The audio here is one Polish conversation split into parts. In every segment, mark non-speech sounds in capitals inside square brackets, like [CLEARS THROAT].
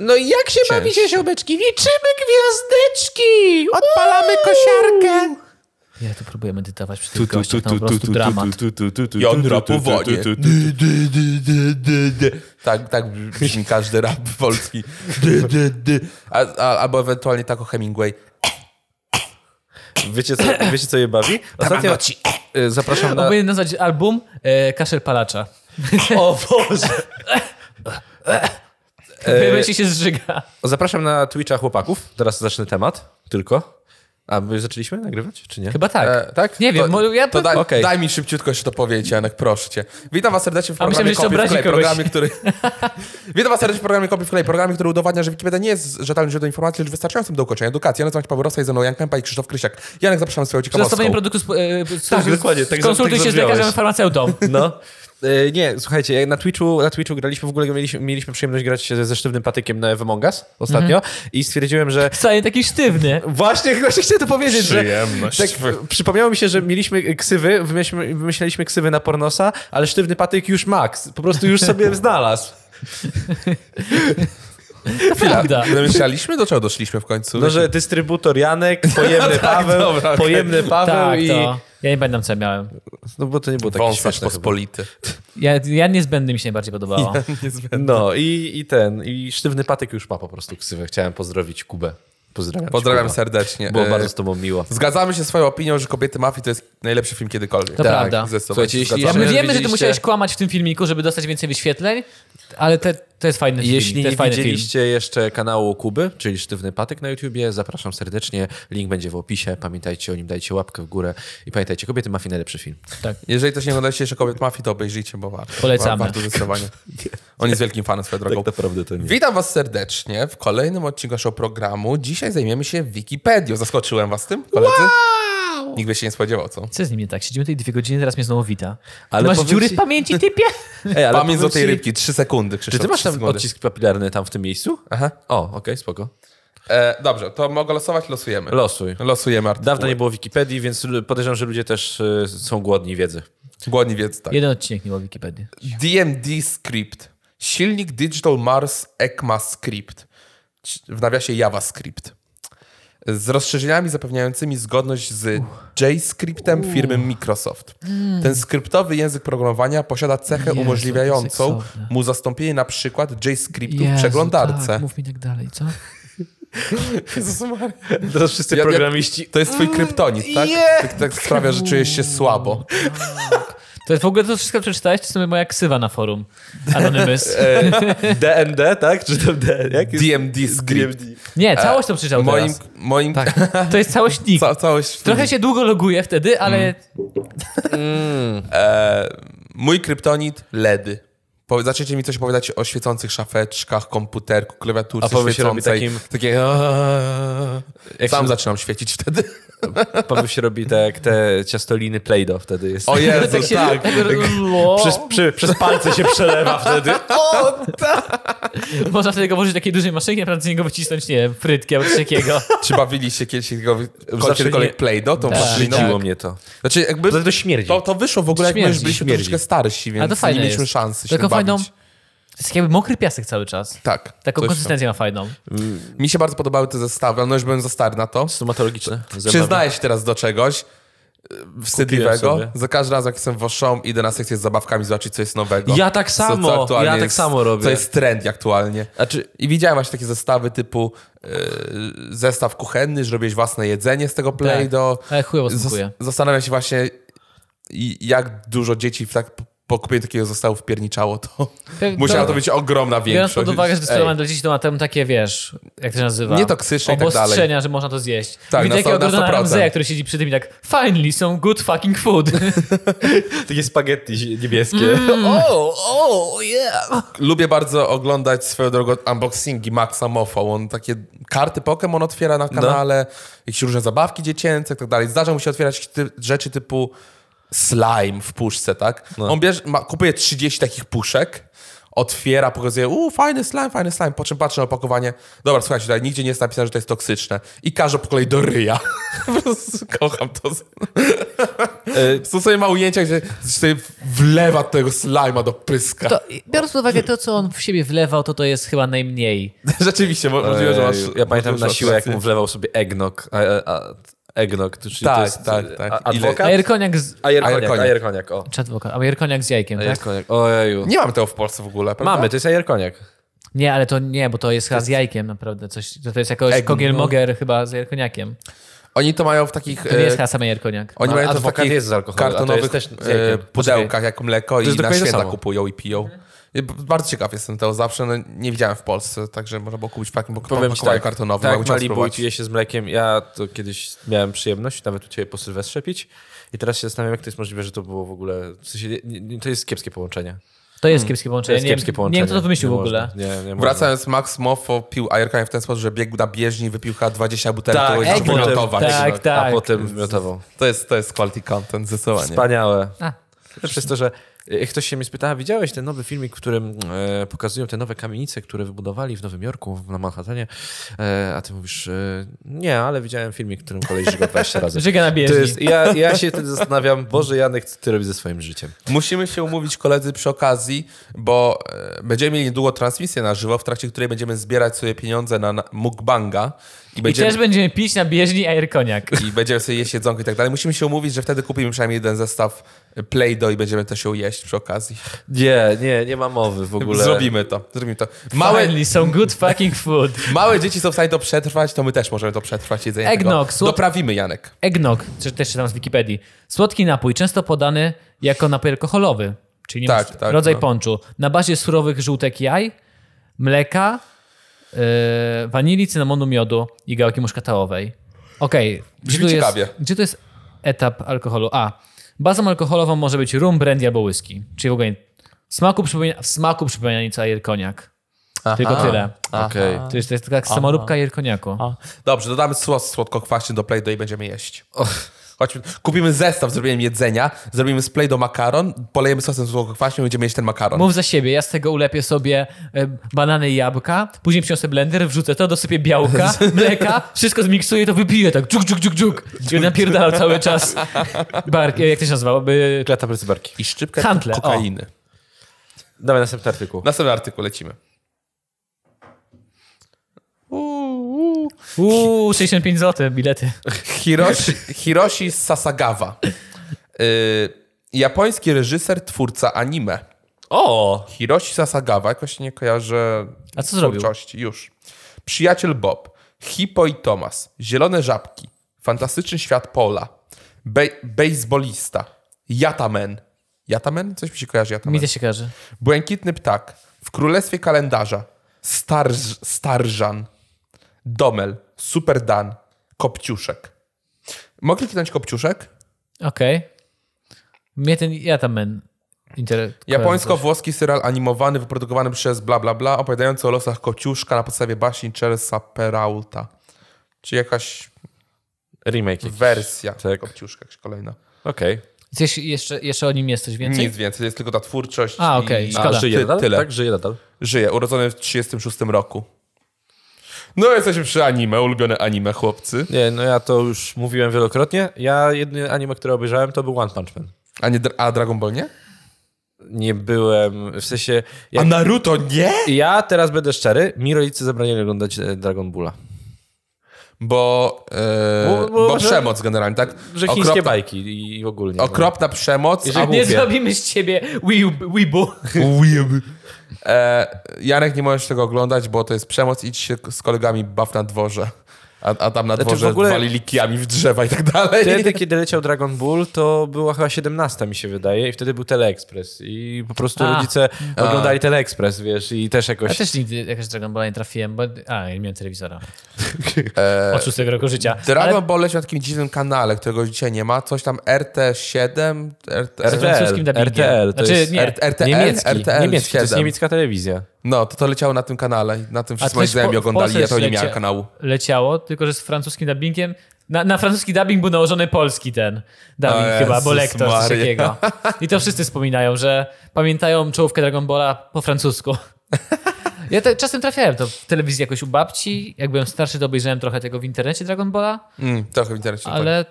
No i jak się Cześć. bawicie, ziomeczki? Liczymy gwiazdeczki! Odpalamy kosiarkę! Ja tu próbuję medytować przy Tu, tych tu, tu, gościach, tam tu, po tu, prostu tu, dramat. tu, tu, tu, tu, tu, I on tu, tu, rapowanie. tu, tu, tu. Dy, dy, dy, dy, dy, dy. Tak, tak brzmi każdy rap polski. Dy, dy, dy. A, a, albo ewentualnie tak o Hemingway. Wiecie co, wiecie, co je bawi? Ostatnio Tamagotchi. e, zapraszam na... No, Powinien nazwać album e, Kaszel Palacza. O [LAUGHS] Boże! Wiemy, się zżyga. Zapraszam na Twitcha chłopaków. Teraz zacznę temat tylko. A my zaczęliśmy nagrywać, czy nie? Chyba tak. E, tak? Nie wiem, To- mo- ja to daj, Okej. daj. Daj mi szybciutko jeszcze to powiedzieć, Janek, proszę cię. Witam was serdecznie w A myślałem, programie że jeszcze Kopy w Klej. obrazi kogoś. Programie, który... [LAUGHS] Witam was serdecznie w programie Kopy w Klej. Programie, który udowadnia, że Wikipedia nie jest rzetelnym źródłem informacji, lecz wystarczającym do ukończenia edukacji. Ja nazywam się Paweł Rosa i ze mną Jan Kępa i Krzysztof Krysiak. Janek, zapraszam swoją ciekawostką. Przedstawienie produktu... sp- E, Tak, dokładnie, tak za- Konsultuj tak się z zabrzmiałeś. lekarzem farmaceutą. No. E, Nie, słuchajcie, jak na Twitchu, na Twitchu graliśmy, w ogóle mieliśmy, mieliśmy przyjemność grać się ze sztywnym patykiem na Among Us ostatnio i stwierdziłem, że Wcale nie [LAUGHS] taki sztywny. Właśnie, właśnie chciałem to powiedzieć, że... Przyjemność. Tak, przypomniało mi się, że mieliśmy ksywy, wymyśliliśmy, wymyśliliśmy ksywy na pornosa, ale sztywny patyk już max, po prostu już sobie [LAUGHS] znalazł. Prawda. Myśleliśmy, do czego doszliśmy w końcu? No, że dystrybutor Janek, pojemny Paweł, dobra, okej. pojemny Paweł Tak, i... to. Ja nie pamiętam, co ja miałem. No bo to nie było takie Wąsarz śmieszne chyba. pospolity. Ja, ja niezbędny mi się najbardziej podobało. No i, i ten, i sztywny patyk już ma po prostu ksywę. Chciałem pozdrowić Kubę. Pozdrawiam cię, Pozdrawiam Kuba. serdecznie. Było E, bardzo z tobą miło. Zgadzamy się swoją opinią, że Kobiety Mafii to jest najlepszy film kiedykolwiek. To prawda. Ze sobą Słuchajcie, się jeśli zgadzamy. Ja my Jeżeli wiemy, że ty widzieliście- musiałeś kłamać w tym filmiku, żeby dostać więcej wyświetleń, ale te, to jest fajny film. Jeśli to nie jest fajny film. widzieliście jeszcze kanału Kuby, czyli Sztywny Patyk na YouTubie, zapraszam serdecznie. Link będzie w opisie. Pamiętajcie o nim, dajcie łapkę w górę i pamiętajcie, kobiety mafii najlepszy film. Tak. Jeżeli też nie oglądaliście jeszcze Kobiet Mafii, to obejrzyjcie, bo warto. Polecamy. [LAUGHS] Warto zdecydowanie. On jest wielkim fanem swoją drogą. naprawdę Tak, to nie. Witam was serdecznie w kolejnym odcinku naszego programu. Dzisiaj zajmiemy się Wikipedią. Zaskoczyłem was tym, koledzy? Wow! Nikt by się nie spodziewał, co? Co z nim nie tak? Siedzimy tutaj dwie godziny, teraz mnie znowu wita. Ale Ale ty masz powiem dziury ci- w [LAUGHS] pamięci, typie? Ej, ale Pamięć do powiem tej ci- rybki, trzy sekundy, Czy Krzysztof. ty masz trzy tam sekundy. odcisk papilarny tam w tym miejscu? Aha. O, okej, spoko. E, dobrze, to mogę losować, losujemy. Losuj. Losujemy artykuł. Dawno nie było Wikipedii, więc l- podejrzewam, że ludzie też y, są głodni wiedzy. Głodni wiedz, tak. Jeden odcinek nie było Wikipedii. DMD Script. Silnik Digital Mars ECMAScript. W nawiasie JavaScript. Z rozszerzeniami zapewniającymi zgodność z JScriptem firmy Microsoft. Hmm. Ten skryptowy język programowania posiada cechę Jezu, umożliwiającą seksowne. mu zastąpienie na przykład JScriptu w Jezu, przeglądarce. Tak, mów mi tak dalej, co? Jezu, Maria. Teraz wszyscy Ja- ja- programiści. to jest twój kryptonit, tak? je- Tak, tak sprawia, że czujesz się słabo. [LAUGHS] To jest w ogóle to wszystko przeczytałeś, to jest moja ksywa na forum. [LAUGHS] Anonymous. E, DND, tak? Czy tam D? Jak DMD Script. Nie, całość to No przeczytał e, Moim, teraz. moim Tak. To jest całość nick. ca, całość Trochę się długo loguję wtedy, Mm. ale Mój kryptonit LEDy. Y. Po, zaczniecie mi coś opowiadać o świecących szafeczkach, komputerku, klawiaturce A Paweł się robi świecącej. takim- Takie... Jak Sam się- zaczynam świecić wtedy. [LAUGHS] Paweł się robi tak jak te ciastoliny Play-Doh wtedy jest. O Jezu, tak się... tak. Lo. Przez, przy, przez palce się przelewa wtedy. Można wtedy go włożyć do takiej dużej maszynie, naprawdę z niego wycisnąć, nie wiem, frytki albo coś takiego. Czy bawiliście kiedyś takiego Zawsze kiedykolwiek nie- Play-Doh? Tą Tak. maszyną? Rzuciło mnie to. Znaczy jakby... To śmierdzi. To, to wyszło w ogóle, jak my już Śmierdzi, byliśmy śmierdzi. troszkę starsi, [LAUGHS] A to więc nie fajne mieliśmy jest. szansy się Taką bawić. fajną... To jest jakby mokry piasek cały czas. Tak. Taką coś tam. konsystencję ma fajną. Mi się bardzo podobały te zestawy, ale no już byłem za stary na to. Stomatologiczne. Zębowe. Przyznaję się teraz do czegoś y, wstydliwego. sobie. Za każdym razem, jak jestem w Oszą, idę na sekcję z zabawkami zobaczyć, co jest nowego. Ja tak Co- co samo, aktualnie ja tak jest- samo robię. Co jest trend aktualnie. Znaczy, I widziałem właśnie takie zestawy typu y, zestaw kuchenny, że robisz własne jedzenie z tego Tak. play do. Ale chujowo Zas- smakuje. Zastanawiam się właśnie, i- jak dużo dzieci w tak po kupieniu takiego zestawu wpierniczało to. Tak, Pe- Musiała to- to być ogromna Biorąc większość. pod uwagę, że Ej. dyscyplina dla dzieci to ma tam takie, wiesz, jak to się nazywa? Nietoksyczne i tak dalej. Obostrzenia, że można to zjeść. Tak, Widzę na sto- jakiego na Gordona 100%. Ramsaya, który siedzi przy tym i tak finally some good fucking food. takie spaghetti niebieskie. O, o, yeah! Lubię bardzo oglądać swoją drogą unboxingi Maxa Moffa. On takie karty Pokémon otwiera na kanale, jakieś różne zabawki dziecięce i tak dalej. Zdarza mu się otwierać ty rzeczy typu slime w puszce, tak? On bierze, ma, kupuje 30 takich puszek, otwiera, pokazuje, uuu, fajny slime, fajny slime, po czym patrzy na opakowanie, dobra, słuchajcie, tutaj nigdzie nie jest napisane, że to jest toksyczne i każe po kolei do ryja. [LAUGHS] po prostu kocham to. Są sobie ma ujęcia, gdzie sobie wlewa tego slima do pyska. [LAUGHS] To, biorąc pod uwagę to, co on w siebie wlewał, to to jest chyba najmniej. [LAUGHS] Rzeczywiście, mo- możliwe, że masz... Ej, ja pamiętam możliwe, na że siłę, masz jak rację. mu wlewał sobie egnok. A, a, a, egnok, to czyli Tak, to jest tak, tak. A, Ile- adwokat? A Jerkoniak z... Ajer koniak, Ajerkoniak. ajer koniak, o. Czy adwokat? A Jerkoniak z jajkiem, Ajer tak? koniak, ojeju. Nie mamy tego w Polsce w ogóle, prawda? Mamy, to jest ajer koniak. Nie, ale to nie, bo to jest chyba z jajkiem naprawdę. Coś, to, to jest jakoś Egg, kogiel no. moger chyba z Jerkoniakiem. Oni to mają w takich... To nie jest e, chyba sam Jerkoniak. Oni No, mają to w adwokat takich jest z alkoholem, a to kartonowych jest też z jajkiem. e, Poczekaj. pudełkach jak mleko i jest na dokładnie to święta samo. kupują i piją. I b- Bardzo ciekaw jestem tego zawsze. No, nie widziałem w Polsce, także można było kupić w takim Powiem ci pakowaniu tak, kartonowym. tak jakbym chciał Malibu i spróbować. pije się z mlekiem. Ja to kiedyś miałem przyjemność nawet u ciebie po Sylwestrze pić i teraz się zastanawiam, jak to jest możliwe, że to było w ogóle... W sensie, nie, nie, to jest kiepskie połączenie. To jest kiepskie To połączenie. jest Znaczy, Nie wiem- kiepskie połączenie. Nie wiem, kto to wymyślił nie w ogóle. Można. Nie, nie można. Wracając, Max Moffo pił ajerkanie w ten sposób, że biegł na bieżni i wypił chyba 20 butelek Tak, i egg, zaczął potem- wymiotować. tak, No, A tak. potem wymiotował. To, jest, to jest quality content, zdecydowanie. Wspaniałe. A. To Przez to, że y, ktoś się mnie spytał, "A widziałeś ten nowy filmik, w którym e, pokazują te nowe kamienice, które wybudowali w Nowym Jorku, w- na Manhattanie, e, a ty mówisz, e, nie, ale widziałem filmik, w którym kolej żyga 20 razy. Żyga na To bieżni. jest, ja, ja się wtedy zastanawiam, Boże Janek, co ty robisz ze swoim życiem? Musimy się umówić, koledzy, przy okazji, bo e, będziemy mieli niedługo transmisję na żywo, w trakcie której będziemy zbierać sobie pieniądze na, na mukbanga. I I będziemy, też będziemy pić na bieżni Jerkoniak. i będziemy sobie jeść jedzonko i tak dalej. Musimy się umówić, że wtedy kupimy przynajmniej jeden zestaw Play-Doh i będziemy to się jeść przy okazji. Nie, nie, nie ma mowy w ogóle. Zrobimy to. Zrobimy to. Małe, Finally, some good fucking food. małe dzieci są w stanie to przetrwać, to my też możemy to przetrwać jedzenie Eggnog, tego. słod- Doprawimy, Janek. Eggnog, czy też czytam z Wikipedii. Słodki napój, często podany jako napój alkoholowy, czyli nie Tak, ma- tak, rodzaj no. ponczu. Na bazie surowych żółtek jaj, mleka, yy, wanilii, cynamonu, miodu i gałki muszkatałowej. Okej, gdzie, Brzmi tu jest- ciekawie. gdzie to jest etap alkoholu? A, bazą alkoholową może być rum, brandy albo whisky. Czyli w ogóle nie- w smaku przypomina, w smaku przypomina nieco jerkoniak. Tylko tyle. Okej. To jest, to jest taka samoróbka jerkoniaku. Dobrze, dodamy sos słodko-kwaśny do Play-Doh i będziemy jeść. Chodźmy, kupimy zestaw z zrobieniem jedzenia, zrobimy z Play-Doh makaron, polejemy sosem słodko-kwaśnym i będziemy jeść ten makaron. Mów za siebie, ja z tego ulepię sobie e, banany i jabłka, później przyniosę blender, wrzucę to, dosypię białka, mleka, wszystko zmiksuję i to wypiję tak, dżuk, dżuk, dżuk, dżuk. I będę napierdalał cały czas bark, e, jak to się nazywało? By... Klata brycybarki. I szczypkę Handle, o. kokainy. Dawaj następny artykuł. Następny artykuł, lecimy. Uuu, 65 zł bilety. Hiroshi, Hiroshi Sasagawa. Y, japoński reżyser, twórca anime. O! Hiroshi Sasagawa, jakoś nie kojarzę A co zrobił? twórczości. Już. Przyjaciel Bob, Hippo i Tomas, Zielone Żabki, Fantastyczny Świat Pola, Be- Bejsbolista, Yataman. Yataman? Coś mi się kojarzy Yataman. Mi też się każe. Błękitny Ptak, W Królestwie Kalendarza, Starż- Starżan, Domel, Super Dan, Kopciuszek. Mogę kliknąć Kopciuszek? Okej. Mnie ten, ja tam men. Inter... Japońsko-włoski serial animowany, wyprodukowany przez bla bla bla, opowiadający o losach kociuszka na podstawie baśni Chelsea Peralta. Czy jakaś Remake. jakiś. wersja Tak. kociuszka jakaś kolejna. Okej. Coś, jeszcze, jeszcze o nim jest coś więcej? Nic więcej, jest tylko ta twórczość. A, okej. i... A, Szkoda. Żyje Ty- nadal? tyle. Tak, żyje nadal. Żyje, urodzony w 36 roku. No, jesteśmy przy anime, ulubione anime, chłopcy. Nie, no ja to już mówiłem wielokrotnie. Ja jedyny anime, które obejrzałem, to był One Punch Man. A, nie, dra- a Dragon Ball nie? Nie byłem, w sensie... Ja, Naruto nie? ja teraz będę szczery, mi rodzice zabranili oglądać e, Dragon Balla. Bo, e, Bo- bo, bo- że- przemoc generalnie, tak? Że chińskie Okropna- bajki i, i ogólnie. [LAUGHS] Okropna przemoc. Jeżeli a [LAUGHS] Nie Głupie. zrobimy z ciebie weeb- weebu. Weeb. E, Jarek, nie możesz tego oglądać, bo to jest przemoc. Idź się z kolegami baw na dworze. A, a tam na Znaczy, dworze w ogóle- walili kijami w drzewa i tak dalej. Wtedy, kiedy leciał Dragon Ball, to była chyba 17, mi się wydaje, i wtedy był Teleexpress. I po prostu A. rodzice oglądali Teleexpress, wiesz, i też Ja jakoś. też nigdy jakoś Dragon Ball nie trafiłem, bo... A, nie miałem telewizora. Od szóstego roku życia. Dragon Ale Ball leci na takim dziwnym kanale, którego dzisiaj nie ma. Coś tam RT7, RT... z francuskim dubbingiem. RTL, to Znaczy, jest nie. R- RTL, niemiecki, RTL niemiecki, to jest 7. niemiecka telewizja. No, to to leciało na tym kanale. i Na tym wszyscy moi też po- znajomi w oglądali. Polsce Ja to nie lecie- miałem kanału. leciało, tylko że z francuskim dubbingiem Na, na francuski dubbing był nałożony polski ten dubbing O chyba, Jezus bo lektor coś Maria. takiego. I to wszyscy wspominają, że pamiętają czołówkę Dragon Balla po francusku. Ja te, czasem trafiałem to w telewizji jakoś u babci. Jak byłem starszy, to obejrzałem trochę tego w internecie Dragon Balla, Mm, trochę w internecie. ale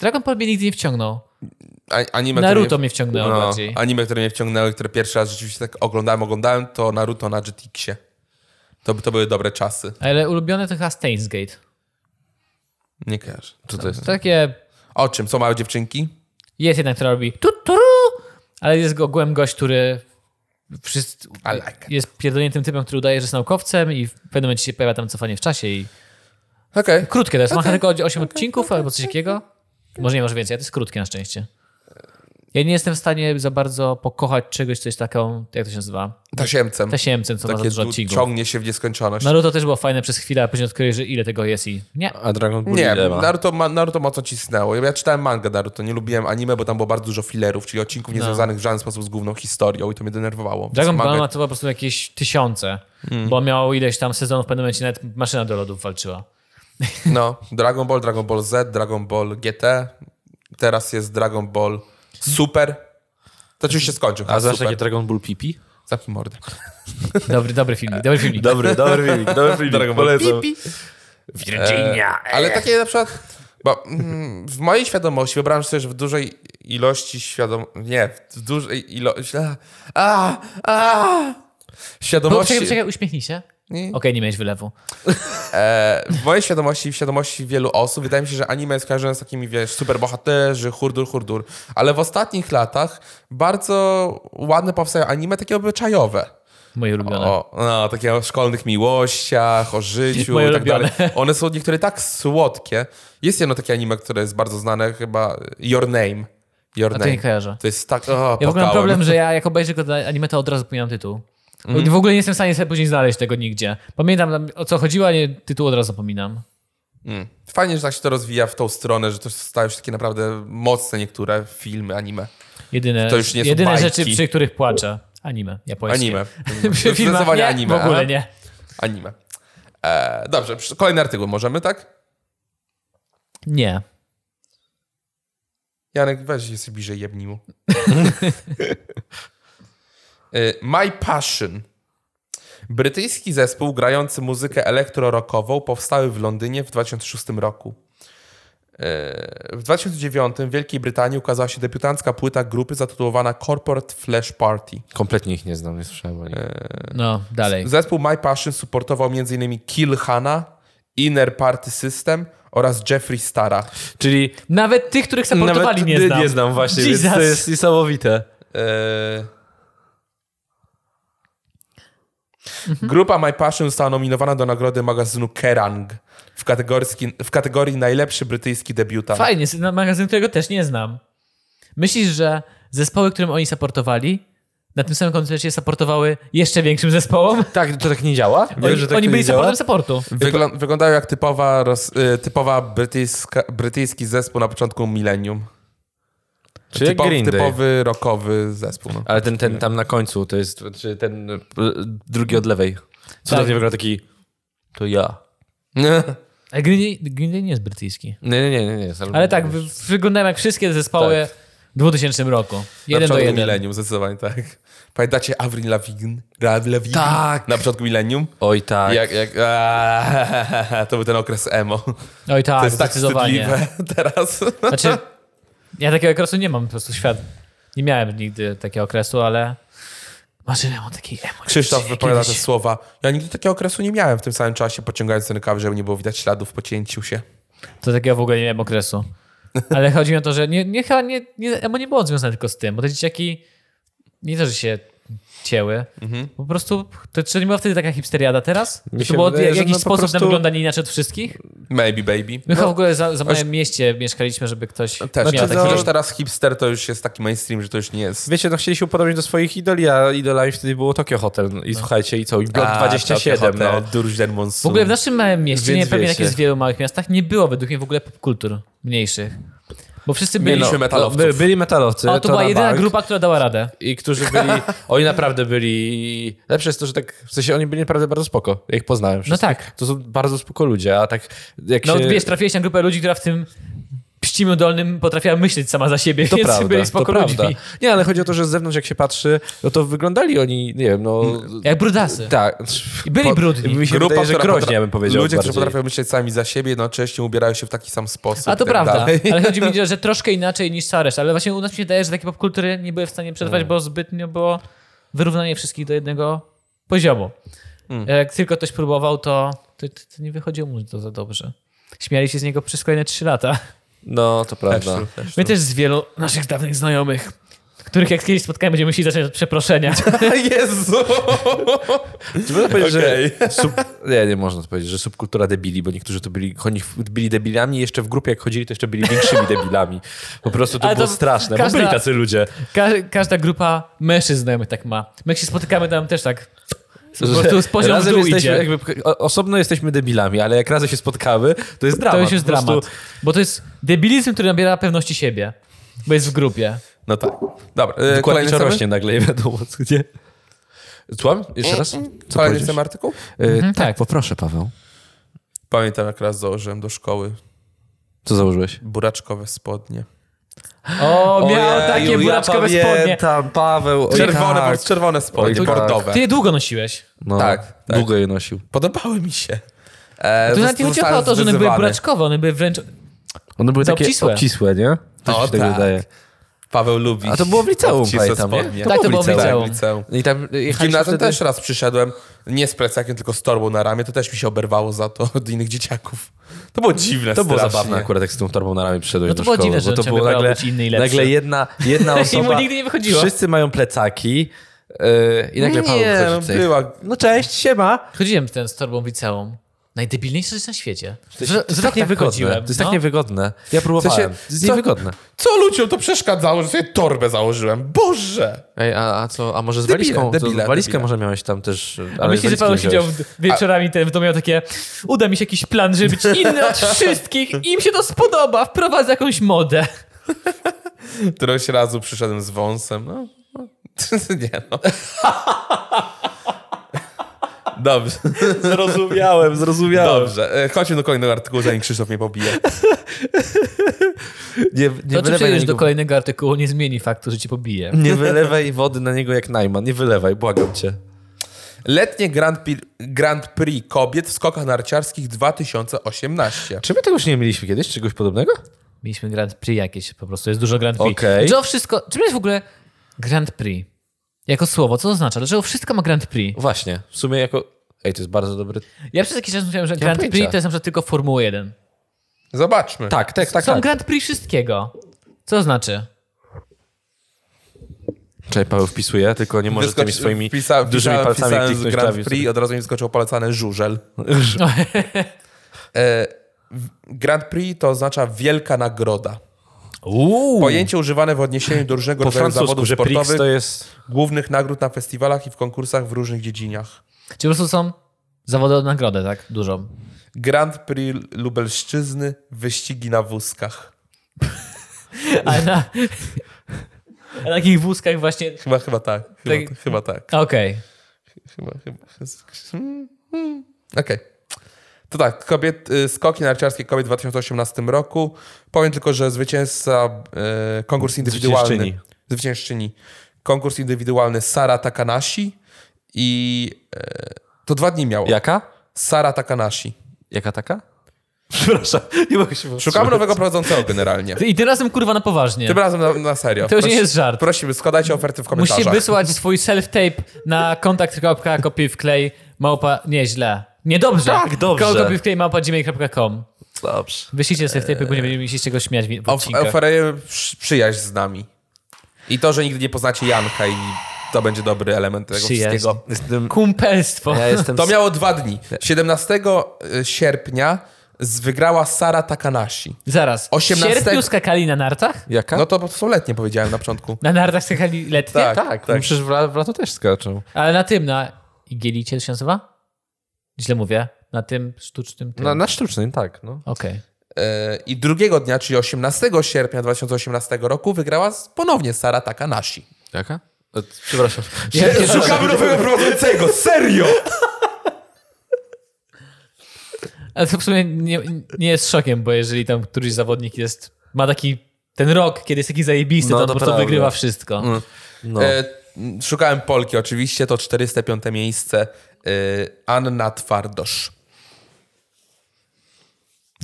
Dragon Ball mnie nigdy nie wciągnął. A, anime, Naruto które no, mnie wciągnęło bardziej. Anime, które mnie wciągnęły, które pierwszy raz rzeczywiście tak oglądałem, oglądałem, to Naruto na GTX-ie. To, to były dobre czasy. Ale ulubione to chyba Steins Gate. Nie kojarzę. Co to jest? Takie O czym? Co małe dziewczynki? Jest jedna, która robi tu, tu, ale jest go ogółem gość, który wszyscy, I like it. jest pierdolniętym typem, który udaje, że jest naukowcem i w pewnym momencie się pojawia tam cofanie w czasie i Okej. krótkie to jest, ma tylko 8 odcinków albo coś takiego. Może nie, może więcej, ale to jest krótkie na szczęście. Ja nie jestem w stanie za bardzo pokochać czegoś, co jest taką, jak to się nazywa, Tasiemcem. tasiemcem, co ma za Takie dużo du- odcinków. ciągnie się w nieskończoność. Naruto też było fajne przez chwilę, a później odkryłeś, że ile tego jest i nie. A Dragon Ball Nie, ile ma? Naruto, ma, Naruto mocno cisnęło. Ja czytałem manga Naruto, nie lubiłem anime, bo tam było bardzo dużo filerów, czyli odcinków niezwiązanych w żaden sposób z główną historią i to mnie denerwowało. Więc No. Dragon Ball manga- ma to po prostu jakieś tysiące, Mm. bo miał ileś tam sezonów, w pewnym momencie nawet maszyna do lodów walczyła. No, Dragon Ball, Dragon Ball Z, Dragon Ball GT, teraz jest Dragon Ball Super. To już się skończył. A znasz takie Super. Dragon Ball Pipi? Zamknij mordę. Tak. Dobry, dobry filmik, dobry filmik. Dobry, dobry filmik, [LAUGHS] dobry filmik. E, Dragon Ball Pipi. Virginia. ale takie na przykład. Bo mm, w mojej świadomości wyobrażam sobie, że w dużej ilości świadom... Nie, w dużej ilości. A, a, a, No, świadomości. czekaj, czekaj, uśmiechnij się. Nie. Okej, nie miałeś wylewu. E, w mojej świadomości i w świadomości wielu osób wydaje mi się, że anime jest kojarzone z takimi, wiesz, superbohaterzy, hurdur, hurdur. Ale w ostatnich latach bardzo ładne powstają anime takie obyczajowe. Moje ulubione. O, no, takie o szkolnych miłościach, o życiu Moje i tak ulubione. [LAUGHS] dalej. One są niektóre tak słodkie. Jest jedno takie anime, które jest bardzo znane, chyba Your Name. Your A to Name. nie kojarzę. To jest tak. O, Ja w ogóle mam płakałem. problem, że ja jak obejrzę go na anime, to od razu pominam tytuł. Mhm. W ogóle nie jestem w stanie sobie później znaleźć tego nigdzie. Pamiętam tam, o co chodziło, a nie, tytuł od razu pominam. Mm. Fajnie, że tak się to rozwija w tą stronę, że to stają się takie naprawdę mocne niektóre filmy, anime. Jedyne, To już nie są jedyne bajki. rzeczy, przy których płaczę. Anime, japońskie. [LAUGHS] Anime. przy filmach Zdecydowanie nie, anime, w ogóle aha. nie. Anime. E, dobrze, przy- kolejny artykuł możemy, tak? Nie. Janek, weź jesteś bliżej jebnimu. E, My Passion. Brytyjski zespół grający muzykę elektrorokową powstały w Londynie w 2006 roku. E, W 2009 w Wielkiej Brytanii ukazała się debiutancka płyta grupy zatytułowana Corporate Flash Party. Kompletnie ich nie znam, nie słyszałem o nich. No, dalej. Zespół My Passion supportował m.in. Kill Hana, Inner Party System oraz Jeffree Stara. Czyli Nawet tych, których nawet supportowali, nie znam. nie znam właśnie, więc Jesus. to jest niesamowite. Eee. Grupa My Passion została nominowana do nagrody magazynu Kerrang w kategorii, w kategorii najlepszy brytyjski debiutant. Fajnie, z- na magazyn, którego też nie znam. Myślisz, że zespoły, którym oni supportowali, na tym samym koncercie supportowały jeszcze większym zespołom? Tak, to tak nie działa? Oni, oni byli supportem supportem supportu. Wyglą wyglądają jak typowa, roz, y, typowa brytyjska, brytyjski zespół na początku milenium. Czy jak Typowy- Green Day. typowy rockowy zespół. No. Ale ten, ten tam na końcu, to jest czy ten y, drugi od lewej. Co tak. Tak. nie wygląda taki, to [LAUGHS] ja. A Green Day, Green Day nie jest brytyjski. Nie, nie, nie, nie. nie jest Ale album. tak, wy, wyglądają jak wszystkie zespoły w 2000 roku. Tak. Na Jeden do początku jeden. milenium, zdecydowanie tak. Pamiętacie Avril Lavigne? Avril Lavigne? Tak. Na początku milenium? Oj tak. Jak, jak, [LAUGHS] aaa, to był ten okres emo. Oj tak, to jest tak zdecydowanie. wstydliwe [LAUGHS] teraz. znaczy, ja takiego okresu nie mam, po prostu świat. Nie miałem nigdy takiego okresu, ale marzyłem o takiej emocji. Krzysztof wypowiada te Kiedyś- słowa. Ja nigdy takiego okresu nie miałem w tym samym czasie, pociągając ten kawy, żeby nie było widać śladów po cięciu się. To takiego w ogóle nie miałem okresu. Ale chodzi mi o to, że nie, nie, chyba nie, nie, emo nie było związane tylko z tym, bo te dzieciaki nie to, że się cięły. Po prostu, to, czy nie była wtedy taka hipsteriada teraz? Mi Czy się to było wydaje, w że jakiś no po sposób prostu- No, na wyglądanie inaczej od wszystkich? Maybe baby. No, My chyba w ogóle za, za moim mieście mieszkaliśmy, żeby ktoś Też, no, miał taki... chociaż teraz hipster to już jest taki mainstream, że to już nie jest. Wiecie, no chcieli się upodobnić do swoich idoli, a idolami wtedy było Tokio Hotel. I No. słuchajcie, i co? I Blok A, 27, Tokio no. Hotel, Durźden Monsoon. W ogóle w naszym małym mieście, Więc nie pewnie wiecie. jak jest w wielu małych miastach, nie było według mnie w ogóle popkultur mniejszych. Bo wszyscy byli... Mieliśmy metalowców. by, byli metalowcy. o, to, była no. na jedyna bank. grupa, która dała radę. No I którzy [LAUGHS] byli, oni naprawdę byli, lepsze jest to, że tak, w sensie oni byli naprawdę bardzo spoko, ja ich poznałem wszystkich. tak. To są bardzo spoko ludzie, a tak jak No się... wiesz, trafiłeś na grupę ludzi, która w tym pścimiu dolnym potrafiła myśleć sama za siebie, to więc prawda, byli to spoko prawda. ludźmi. Nie, ale chodzi o to, że z zewnątrz jak się patrzy, no to wyglądali oni, nie wiem, no... Jak brudasy. Tak. Mm. I byli brudni. Mi się Grupa, wydaje, że która groźnie, potra- ja bym powiedział Ludzie, którzy bardziej. potrafią myśleć sami za siebie, jednocześnie ubierają się w taki sam sposób. A to i tak prawda, dalej. ale chodzi [LAUGHS] mi, że troszkę inaczej niż cała reszta. Ale właśnie u nas mi się wydaje, że takie popkultury nie były w stanie przetrwać, Mm. bo zbytnio było wyrównanie wszystkich do jednego poziomu. Mm. Jak tylko ktoś próbował, to, to, to, to nie wychodziło mu to za dobrze. Śmiali się z niego przez kolejne trzy lata. No, to [LAUGHS] prawda. Też, też. My też z wielu naszych dawnych znajomych, których jak kiedyś spotkamy, będziemy musieli zacząć od [LAUGHS] przeproszenia. Jezu! Czy można powiedzieć, Okej. że sub... Nie, nie można to powiedzieć, że subkultura debili, bo niektórzy to byli, oni byli debilami, jeszcze w grupie jak chodzili, to jeszcze byli większymi debilami. Po prostu to Ale to było straszne, każda- bo byli tacy ludzie. Ka każda grupa mężczyzn znajomych tak ma. My jak się spotykamy, tam też tak po prostu z poziom w razem dół jesteśmy, idzie. jakby, o- osobno jesteśmy debilami, ale jak razem się spotkamy, to jest dramat. To już jest Po prostu- dramat. Bo to jest debilizm, który nabiera pewności siebie. Bo jest w grupie. No tak. Dobra, e, kolejny Dokładnie temat? rośnie nagle, nie wiadomo co, nie? Słucham? Jeszcze raz? Co Kolejny powiedzieć? E, temat artykuł? Mhm, tak. Poproszę, Paweł. Pamiętam, jak raz założyłem do szkoły Co założyłeś? buraczkowe spodnie. O, miał takie Ojeju, buraczkowe Tak. ja spodnie. Tam Paweł. oj Czerwone, tak. czerwone spodnie, Oj, tak. bordowe. Ty je długo nosiłeś. No, Tak, tak. Długo je nosił. Podobały mi się. E, To nawet nie zostałem chodziło o to, że one były zwyzywany. buraczkowe, one były wręcz... One były Za takie obcisłe. obcisłe, nie? Też O, mi się tak. tak wydaje. Paweł lubi. A to było w liceum, obcisłe pamiętam, nie? spodnie. To Tak, to było było w w Tak, Tak, liceum. w liceum. I tam W gimnazjum też raz przyszedłem, nie z plecakiem, tylko z torbą na ramię, to też mi się oberwało za to od innych dzieciaków. To było dziwne, To było strasznie. zabawne akurat, jak z tą torbą na ramię przyszedłeś No to do było szkoły. dziwne, że bo to trzeba było było nagle, być inny i lepszy. nagle jedna, jedna mu osoba... nigdy nie wychodziło. Wszyscy mają plecaki yy, i nagle Paweł Nie, wchodzi no, w cech. była. No cześć, siema. Chodziłem ten z torbą w liceum. Najdebilniejsza rzecz na świecie. To Że, że jest tak nie wychodziłem. To jest no. tak niewygodne. Ja próbowałem. sensie, to jest co- niewygodne. Co ludziom to przeszkadzało, że sobie torbę założyłem? Boże! Ej, a, a co, a może z Debile, walizką? debile, to, walizkę debile. może miałeś tam też... Ale A myślisz, walizki że Paweł nie siedział wziąłeś. w- wieczorami ten w domu miał takie uda mi się jakiś plan, żeby być inny [LAUGHS] od wszystkich i im się to spodoba, wprowadza jakąś modę. Któregoś razu przyszedłem z wąsem. No, no. [LAUGHS] nie no. Dobrze, Zrozumiałem, zrozumiałem. dobrze. E, Chodźmy do kolejnego artykułu, zanim Krzysztof mnie pobije. Nie, nie To, czy wylewaj na przejdziesz do niego kolejnego artykułu, nie zmieni faktu, że cię pobije. Nie wylewaj wody na niego jak Najman. Nie wylewaj, błagam cię. Letnie Grand, Pi- Grand Prix kobiet w skokach narciarskich 2018. Czy my tego już nie mieliśmy kiedyś? Czegoś podobnego? Mieliśmy Grand Prix jakieś, po prostu jest dużo Grand Prix. Okej. Dlaczego wszystko... Czym jest w ogóle Grand Prix? Jako słowo, co to oznacza? Dlaczego wszystko ma Grand Prix? Właśnie. W sumie jako... Ej, to jest bardzo dobry... Ja przez jakiś czas myślałem, że mam Grand pojęcia. Prix to jest na przykład tylko Formuła 1. Zobaczmy. Tak, tak, tak. Są tak. Grand Prix wszystkiego. Co to znaczy? Czekaj, Paweł wpisuje, tylko nie może Wyskoczy- tymi swoimi wpisa- dużymi wpisałem- palcami wpisałem z kliknąć Grand klawisz. Prix, od razu mi skoczył polecany żużel. E, w- Grand Prix to oznacza wielka nagroda. Uuu. Pojęcie używane w odniesieniu do różnego Mm. Po rodzaju francusku, zawodów że Prix sportowych, to jest... głównych nagród na festiwalach i w konkursach w różnych dziedzinach. Czy po prostu są zawody o nagrodę, tak? Dużą. Grand Prix Lubelszczyzny, wyścigi na wózkach. Ale na, na takich wózkach właśnie... Chyba, chyba tak. Chyba Tak. tak. Chyba tak. Okej. Chyba, chyba. Hmm, hmm. Okej. To tak, kobiet, y, skoki narciarskie kobiet w 2018 roku. Powiem tylko, że zwycięzca y, konkurs indywidualny. Zwyciężczyni. Zwyciężczyni. Konkurs indywidualny Sara Takanashi i y, to dwa dni miało. Jaka? Sara Takanashi. Jaka taka? Przepraszam, nie mogę się Szukamy nowego prowadzącego [LAUGHS] generalnie. I tym razem kurwa na poważnie. Tym razem na, na serio. To już nie Prosi- jest żart. Prosimy, składajcie oferty w komentarzach. Musisz wysłać swój self-tape na kontakt kropka kopiuj wklej małpa... Nie, źle. Niedobrze. Tak, dobrze. Kopiuj wklej małpa gmail.com. Dobrze. Wyślijcie self-tape, bo nie będziemy mieli się z czego śmiać w- w Of- odcinkach. Oferujemy przy- przyjaźń z nami. I to, że nigdy nie poznacie Janka i to będzie dobry element tego Przyjaźń. wszystkiego. Jestem... Kumpelstwo. [LAUGHS] Ja jestem... To miało dwa dni. 17 sierpnia z- wygrała Sara Takanashi. Zaraz. 18 W sierpniu skakali na nartach? Jaka? No to, to są letnie, powiedziałem na początku. Na nartach skakali letnie? Tak. tak, tak. Przecież w, la- w lato też skaczą. Ale na tym, na igielicie to się nazywa? Źle mówię. Na tym sztucznym tym. Na, na sztucznym, tak. No. Okej. E, E, I drugiego dnia, czyli 18 sierpnia 2018 roku, wygrała z- ponownie Sara Takanashi. Jaka? E, Przepraszam. Szukamy nowego prowadzącego, serio! Ale to w sumie nie, nie jest szokiem, bo jeżeli tam któryś zawodnik jest, ma taki ten rok, kiedy jest taki zajebisty, No, to on to po prostu prawda. wygrywa wszystko. No. E, m, szukałem Polki oczywiście, to 405 miejsce. E, Anna Twardosz.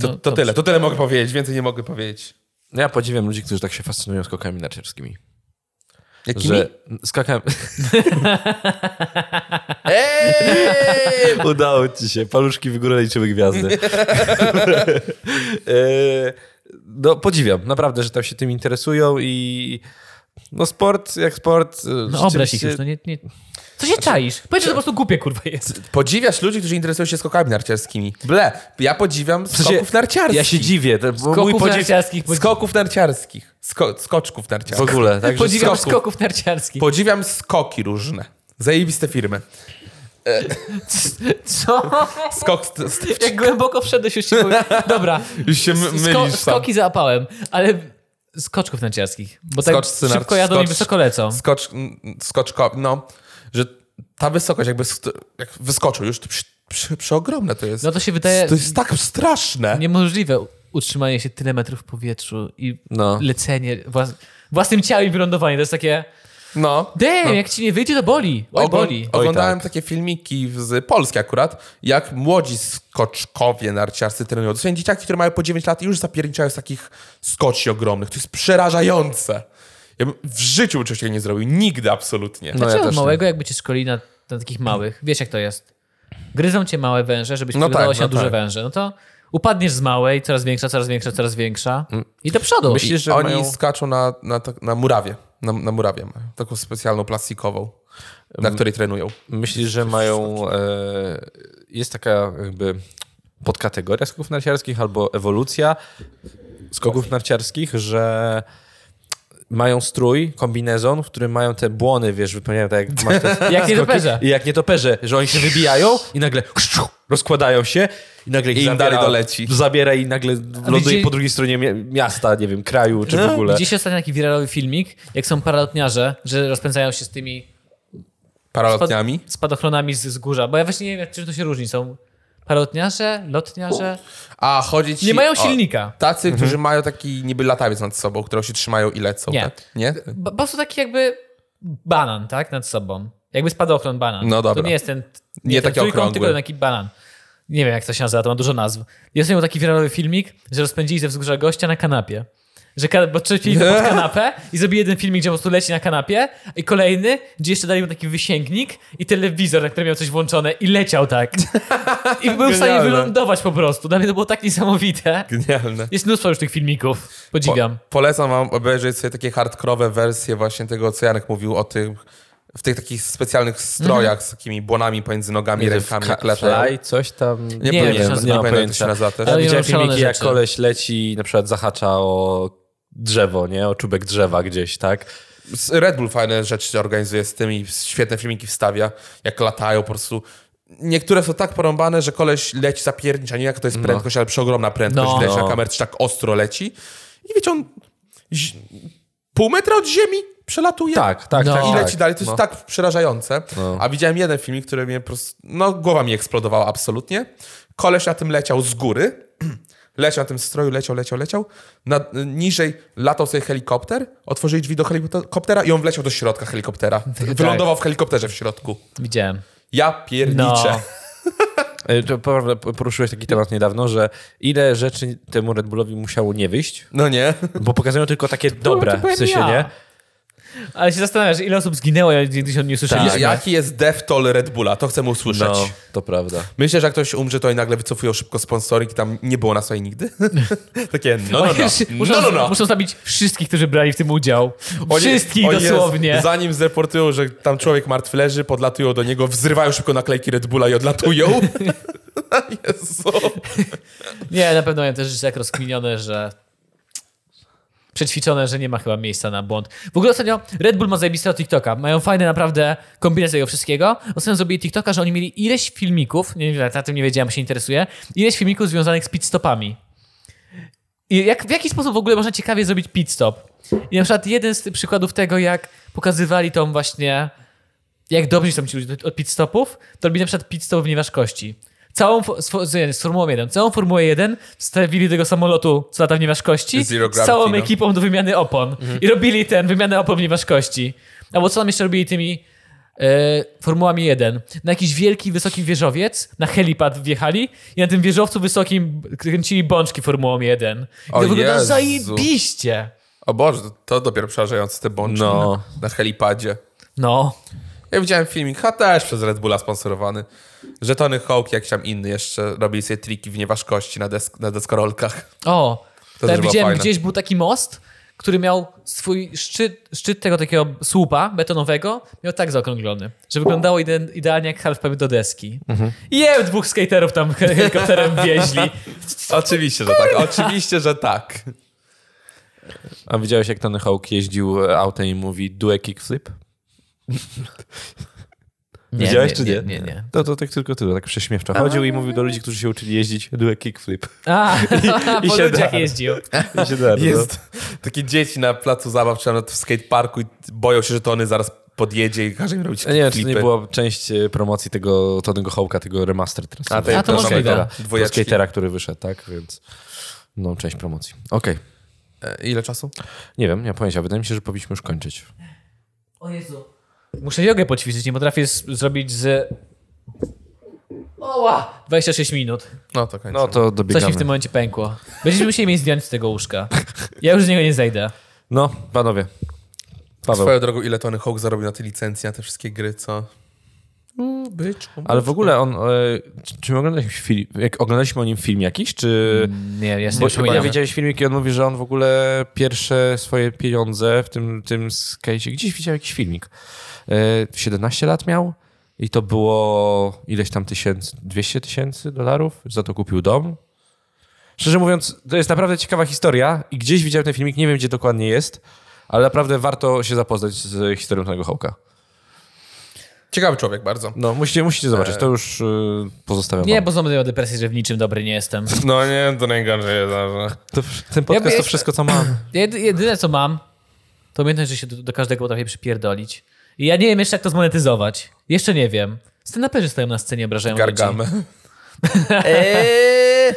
To, No, to dobrze. tyle, to tyle mogę powiedzieć, więcej nie mogę powiedzieć. No Ja podziwiam ludzi, którzy tak się fascynują skokami narciarskimi. Jakimi? Że skakam. [LAUGHS] Eee! Udało ci się. Paluszki w górę liczymy [LAUGHS] gwiazdy. E, no podziwiam. Naprawdę, że tam się tym interesują i no sport jak sport. e, No obraź ich rzeczywiście- już, no nie, nie. Co Znaczy- się czaisz? Powiedz, że to po prostu głupie kurwa jest. Podziwiasz ludzi, którzy interesują się skokami narciarskimi. Ble, ja podziwiam W sensie, skoków narciarskich. Ja się dziwię. To, bo mój Skoków podziw narciarskich. Podzi- Skoków narciarskich. Sko skoczków w narciarskich. ogóle. Także podziwiam skoków. skoków narciarskich. Podziwiam skoki różne. Zajebiste firmy. Co? Skok... St st Jak głęboko wszedłeś już się powiem. Dobra. już się my- Sko- mylisz sam. skoki zaapałem, ale skoczków narciarskich. Bo tak Skoczcy nar- szybko jadą i skocz- wysoko lecą. skocz, m, skoczko, no, że ta wysokość jakby st- jak wyskoczył już, to przy, przy, przeogromne to jest. No to się wydaje to jest tak straszne. niemożliwe utrzymanie się tyle metrów w powietrzu i No. lecenie włas- własnym ciałem i wylądowanie. To jest takie No. damn, jak ci nie wyjdzie, to boli. Oj, boli. Oj, tak. oglądałem takie filmiki z Polski akurat, jak młodzi skoczkowie narciarscy trenują. To są dzieciaki, które mają po 9 lat i już zapierniczają z takich skoci ogromnych. To jest przerażające. Ja bym w życiu bym czegoś takiego nie zrobił. Nigdy absolutnie. No, ja Dlaczego też małego, jakby cię szkoli na, na takich małych? Wiesz, jak to jest. Gryzą cię małe węże, żebyś No no tak, no się na duże tak. węże. No to upadniesz z małej, coraz większa, coraz większa, coraz większa i do przodu. Mm. Myślisz, że Oni mają... skaczą na, na, tak- na murawie. Na, na murawie mają. Taką specjalną plastikową, na Mm. której trenują. Myślisz, że mają. E, jest taka jakby podkategoria skoków narciarskich albo ewolucja skoków narciarskich, że mają strój, kombinezon, w którym mają te błony, wiesz, wypełniają tak [LAUGHS] jak masz te Jak skoki. nietoperze. I jak nietoperze, że oni się wybijają i nagle rozkładają się i nagle ich I im zabiera, dalej doleci. Zabiera i nagle ląduje gdzie- po drugiej stronie mia- miasta, nie wiem, kraju czy w No, ogóle. Gdzieś ostatnio taki wiralowy filmik, jak są paralotniarze, że rozpędzają się z tymi Paralotniami. spadochronami z, z górza. Bo ja właśnie nie wiem, czym to się różni. Są paralotniarze, lotniarze. A chodzi ci Nie mają o silnika. Tacy, którzy mają taki niby latawiec nad sobą, którego się trzymają i lecą. Nie. Tak? Nie? Bo- Po prostu taki jakby banan, tak? Nad sobą. Jakby spadochron banan. No dobra. To nie jest ten. Nie ten taki trójkąt, okrągły. Tylko ten taki banan. Nie wiem, jak to się nazywa, to ma dużo nazw. Jest miał taki wiralowy filmik, że rozpędzili ze wzgórza gościa na kanapie. Że ka- bo czepili go pod kanapę i zrobili jeden filmik, gdzie po prostu leci na kanapie i kolejny, gdzie jeszcze dali mu taki wysięgnik i telewizor, na którym miał coś włączone i leciał tak. [LAUGHS] I był w stanie Genialne. wylądować po prostu. Dla mnie to było tak niesamowite. Genialne. Jest mnóstwo już tych filmików. Podziwiam. polecam wam obejrzeć sobie takie hardkorowe wersje właśnie tego, co Janek mówił o tym, w tych takich specjalnych strojach Mhm. z takimi błonami pomiędzy nogami, rękami, jak latają. Fly, coś tam. Nie, Nie nie, wiem, nie, co- nie, nie mam pamiętam, jak to pojęcia. się nazywa też. Ale Ja widziałem robią szalone filmiki, jak rzeczy. koleś leci i na przykład zahacza o drzewo, nie? O czubek drzewa gdzieś, tak? Z- Red Bull fajne rzeczy organizuje z tymi, świetne filmiki wstawia, jak latają po prostu. Niektóre są tak porąbane, że koleś leci zapiernicza, nie jak to jest prędkość, ale przeogromna prędkość No. leci na No. kamerce, tak ostro leci. I wiecie, on zi- pół metra od ziemi przelatuje. Tak, tak, No. tak. I tak. leci dalej. To jest No. tak przerażające. No. A widziałem jeden filmik, który mnie po prostu... No, głowa mi eksplodowała absolutnie. Koleś na tym leciał z góry. [CLEARS THROAT] Leciał na tym stroju, leciał, leciał, leciał. Na, niżej latał sobie helikopter, otworzyli drzwi do helikoptera i on wleciał do środka [LAUGHS] helikoptera. Tak. Wylądował w helikopterze w środku. Widziałem. Ja pierniczę. No. Y, To prawda, p- poruszyłeś taki temat niedawno, że ile rzeczy temu Red Bullowi musiało nie wyjść, [LAUGHS] No nie? bo pokazują tylko takie dobre, No, to powiem w sensie, ja. nie? Ale się zastanawiasz, ile osób zginęło, ja nigdy się o tym nie Ja, słyszeliśmy. jaki jest death toll Red Bulla? To chcemy usłyszeć. Tak. No, to prawda. Myślę, że jak ktoś umrze, to i nagle wycofują szybko sponsoring i tam nie było nas tutaj nigdy. [LAUGHS] Takie no, no, no. Muszą, no, no, no. muszą zabić wszystkich, którzy brali w tym udział. Oni- Wszystkich oni dosłownie. Jest, zanim zreportują, że tam człowiek martwy leży, podlatują do niego, wzrywają szybko naklejki Red Bulla i [LAUGHS] odlatują. Jezu. Nie, na pewno mają też rzeczy tak rozkminione, że przećwiczone, że nie ma chyba miejsca na błąd. W ogóle ostatnio Red Bull ma zajebistego TikToka. Mają fajne naprawdę kombinacje tego wszystkiego. Ostatnio zrobili TikToka, że oni mieli ileś filmików, nie wiem, na tym nie wiedziałem, się interesuje, ileś filmików związanych z pitstopami. I jak, w jaki sposób w ogóle można ciekawie zrobić pit stop? I na przykład jeden z tych przykładów tego, jak pokazywali tą właśnie, jak dobrze są ci ludzie od pit stopów, to robili na przykład pit stop w nieważkości. Całą fo- z, fo- z, z Formułą 1. Całą Formułę 1 wstawili do tego samolotu, co lata w nieważkości, Zero z całą gravity, no. Mhm. ekipą do wymiany opon. I robili ten, wymianę opon w nieważkości. Albo co tam jeszcze robili tymi e, Formułami 1. Na jakiś wielki, wysoki wieżowiec, na helipad wjechali i na tym wieżowcu wysokim kręcili bączki Formułą 1. I to O wyglądało Jezu. zajebiście. O Boże, to dopiero przerażające te bączki No. na, na helipadzie. No. Ja widziałem filmik, a też przez Red Bulla sponsorowany. Żetony Hawk, jakiś tam inny jeszcze, robili sobie triki w nieważkości na, desk na deskorolkach. O, to też było widziałem, fajne. gdzieś był taki most, który miał swój szczyt, szczyt tego takiego słupa betonowego, miał tak zaokrąglony, że wyglądało ide idealnie jak half pipe do deski. I je, dwóch skaterów tam [LAUGHS] hel- helikopterem wieźli. Oczywiście, [LAUGHS] że tak. Oczywiście, że tak. A widziałeś, jak Tony Hawk jeździł e, autem i mówi do a kickflip? Nie, Widziałeś nie, czy nie? Nie, nie, nie. No to tak tylko tyle, tak prześmiewczo. Chodził i mówił do ludzi, którzy się uczyli jeździć do a [LAUGHS] kickflip. A, i [LAUGHS] po się ludziach da. jeździł. I się da, no. Jest takie dzieci na placu zabaw, czy nawet w skateparku i boją się, że to one zaraz podjedzie i każe im robić No. Nie wiem, czy to flipy. nie była część e, promocji tego Tonego Hawka, tego remaster teraz. A, A, to to możliwe. skatera. Pro Dwójeczki. skatera, który wyszedł, tak? Więc no, część promocji. Okej. E, Ile czasu? Nie wiem, ja pojęcia. Wydaje mi się, że powinniśmy już kończyć. O Jezu. Muszę jogę poćwiczyć, nie potrafię s- zrobić z... Oła! 26 minut. No to kończymy. No to Coś dobiegamy. mi w tym momencie pękło. Będziemy musieli mnie zdjąć z tego łóżka. Ja już z niego nie zejdę. No, panowie. Paweł. Swoją drogą, ile Tony Hawk zarobił na te licencje, na te wszystkie gry, co? U, byczku. Ale w ogóle on... E, czy, czy my oglądaliśmy, film, jak, oglądaliśmy o nim film jakiś, czy... Nie, Bo ja się nie chyba przypominam. widziałeś filmik i on mówi, że on w ogóle pierwsze swoje pieniądze w tym, tym skajcie... Gdzieś widział jakiś filmik. E, 17 lat miał i to było ileś tam tysięcy, 200 tysięcy dolarów. Za to kupił dom. Szczerze mówiąc, to jest naprawdę ciekawa historia i gdzieś widziałem ten filmik, nie wiem gdzie dokładnie jest, ale naprawdę warto się zapoznać z historią tego Hołka. Ciekawy człowiek bardzo. No, musicie, musicie zobaczyć, to już y, pozostawiam E, Nie, wam. bo znowu miałem depresję, że w niczym dobry nie jestem. No nie, to najgorzej jest. że- To, ten podcast to Ja- wszystko, co mam. Jedy, jedyne, co mam, to umiejętność, że się do, do każdego potrafię przypierdolić. I ja nie wiem jeszcze, jak to zmonetyzować. Jeszcze nie wiem. Stand-uperzy stoją na scenie, obrażają ludzi. Gargamel. [LAUGHS] Eee.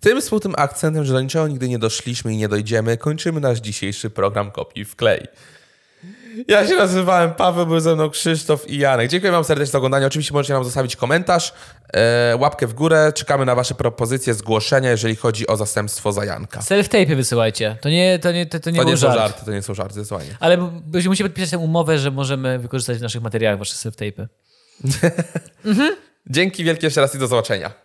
Tym smutnym akcentem, że do niczego nigdy nie doszliśmy i nie dojdziemy, kończymy nasz dzisiejszy program Kopii w Klej. Ja się nazywałem Paweł, był ze mną Krzysztof i Janek. Dziękuję wam serdecznie za oglądanie. Oczywiście możecie nam zostawić komentarz, e, łapkę w górę. Czekamy na wasze propozycje, zgłoszenia, jeżeli chodzi o zastępstwo za Janka. Self-tape wysyłajcie. To nie, to nie, to, to nie To był nie są żart. żarty, to nie są żarty, zwanie. Ale b- będziemy musieli podpisać tę umowę, że możemy wykorzystać w naszych materiałach wasze self-tape'y. Dzięki wielkie jeszcze raz i do zobaczenia.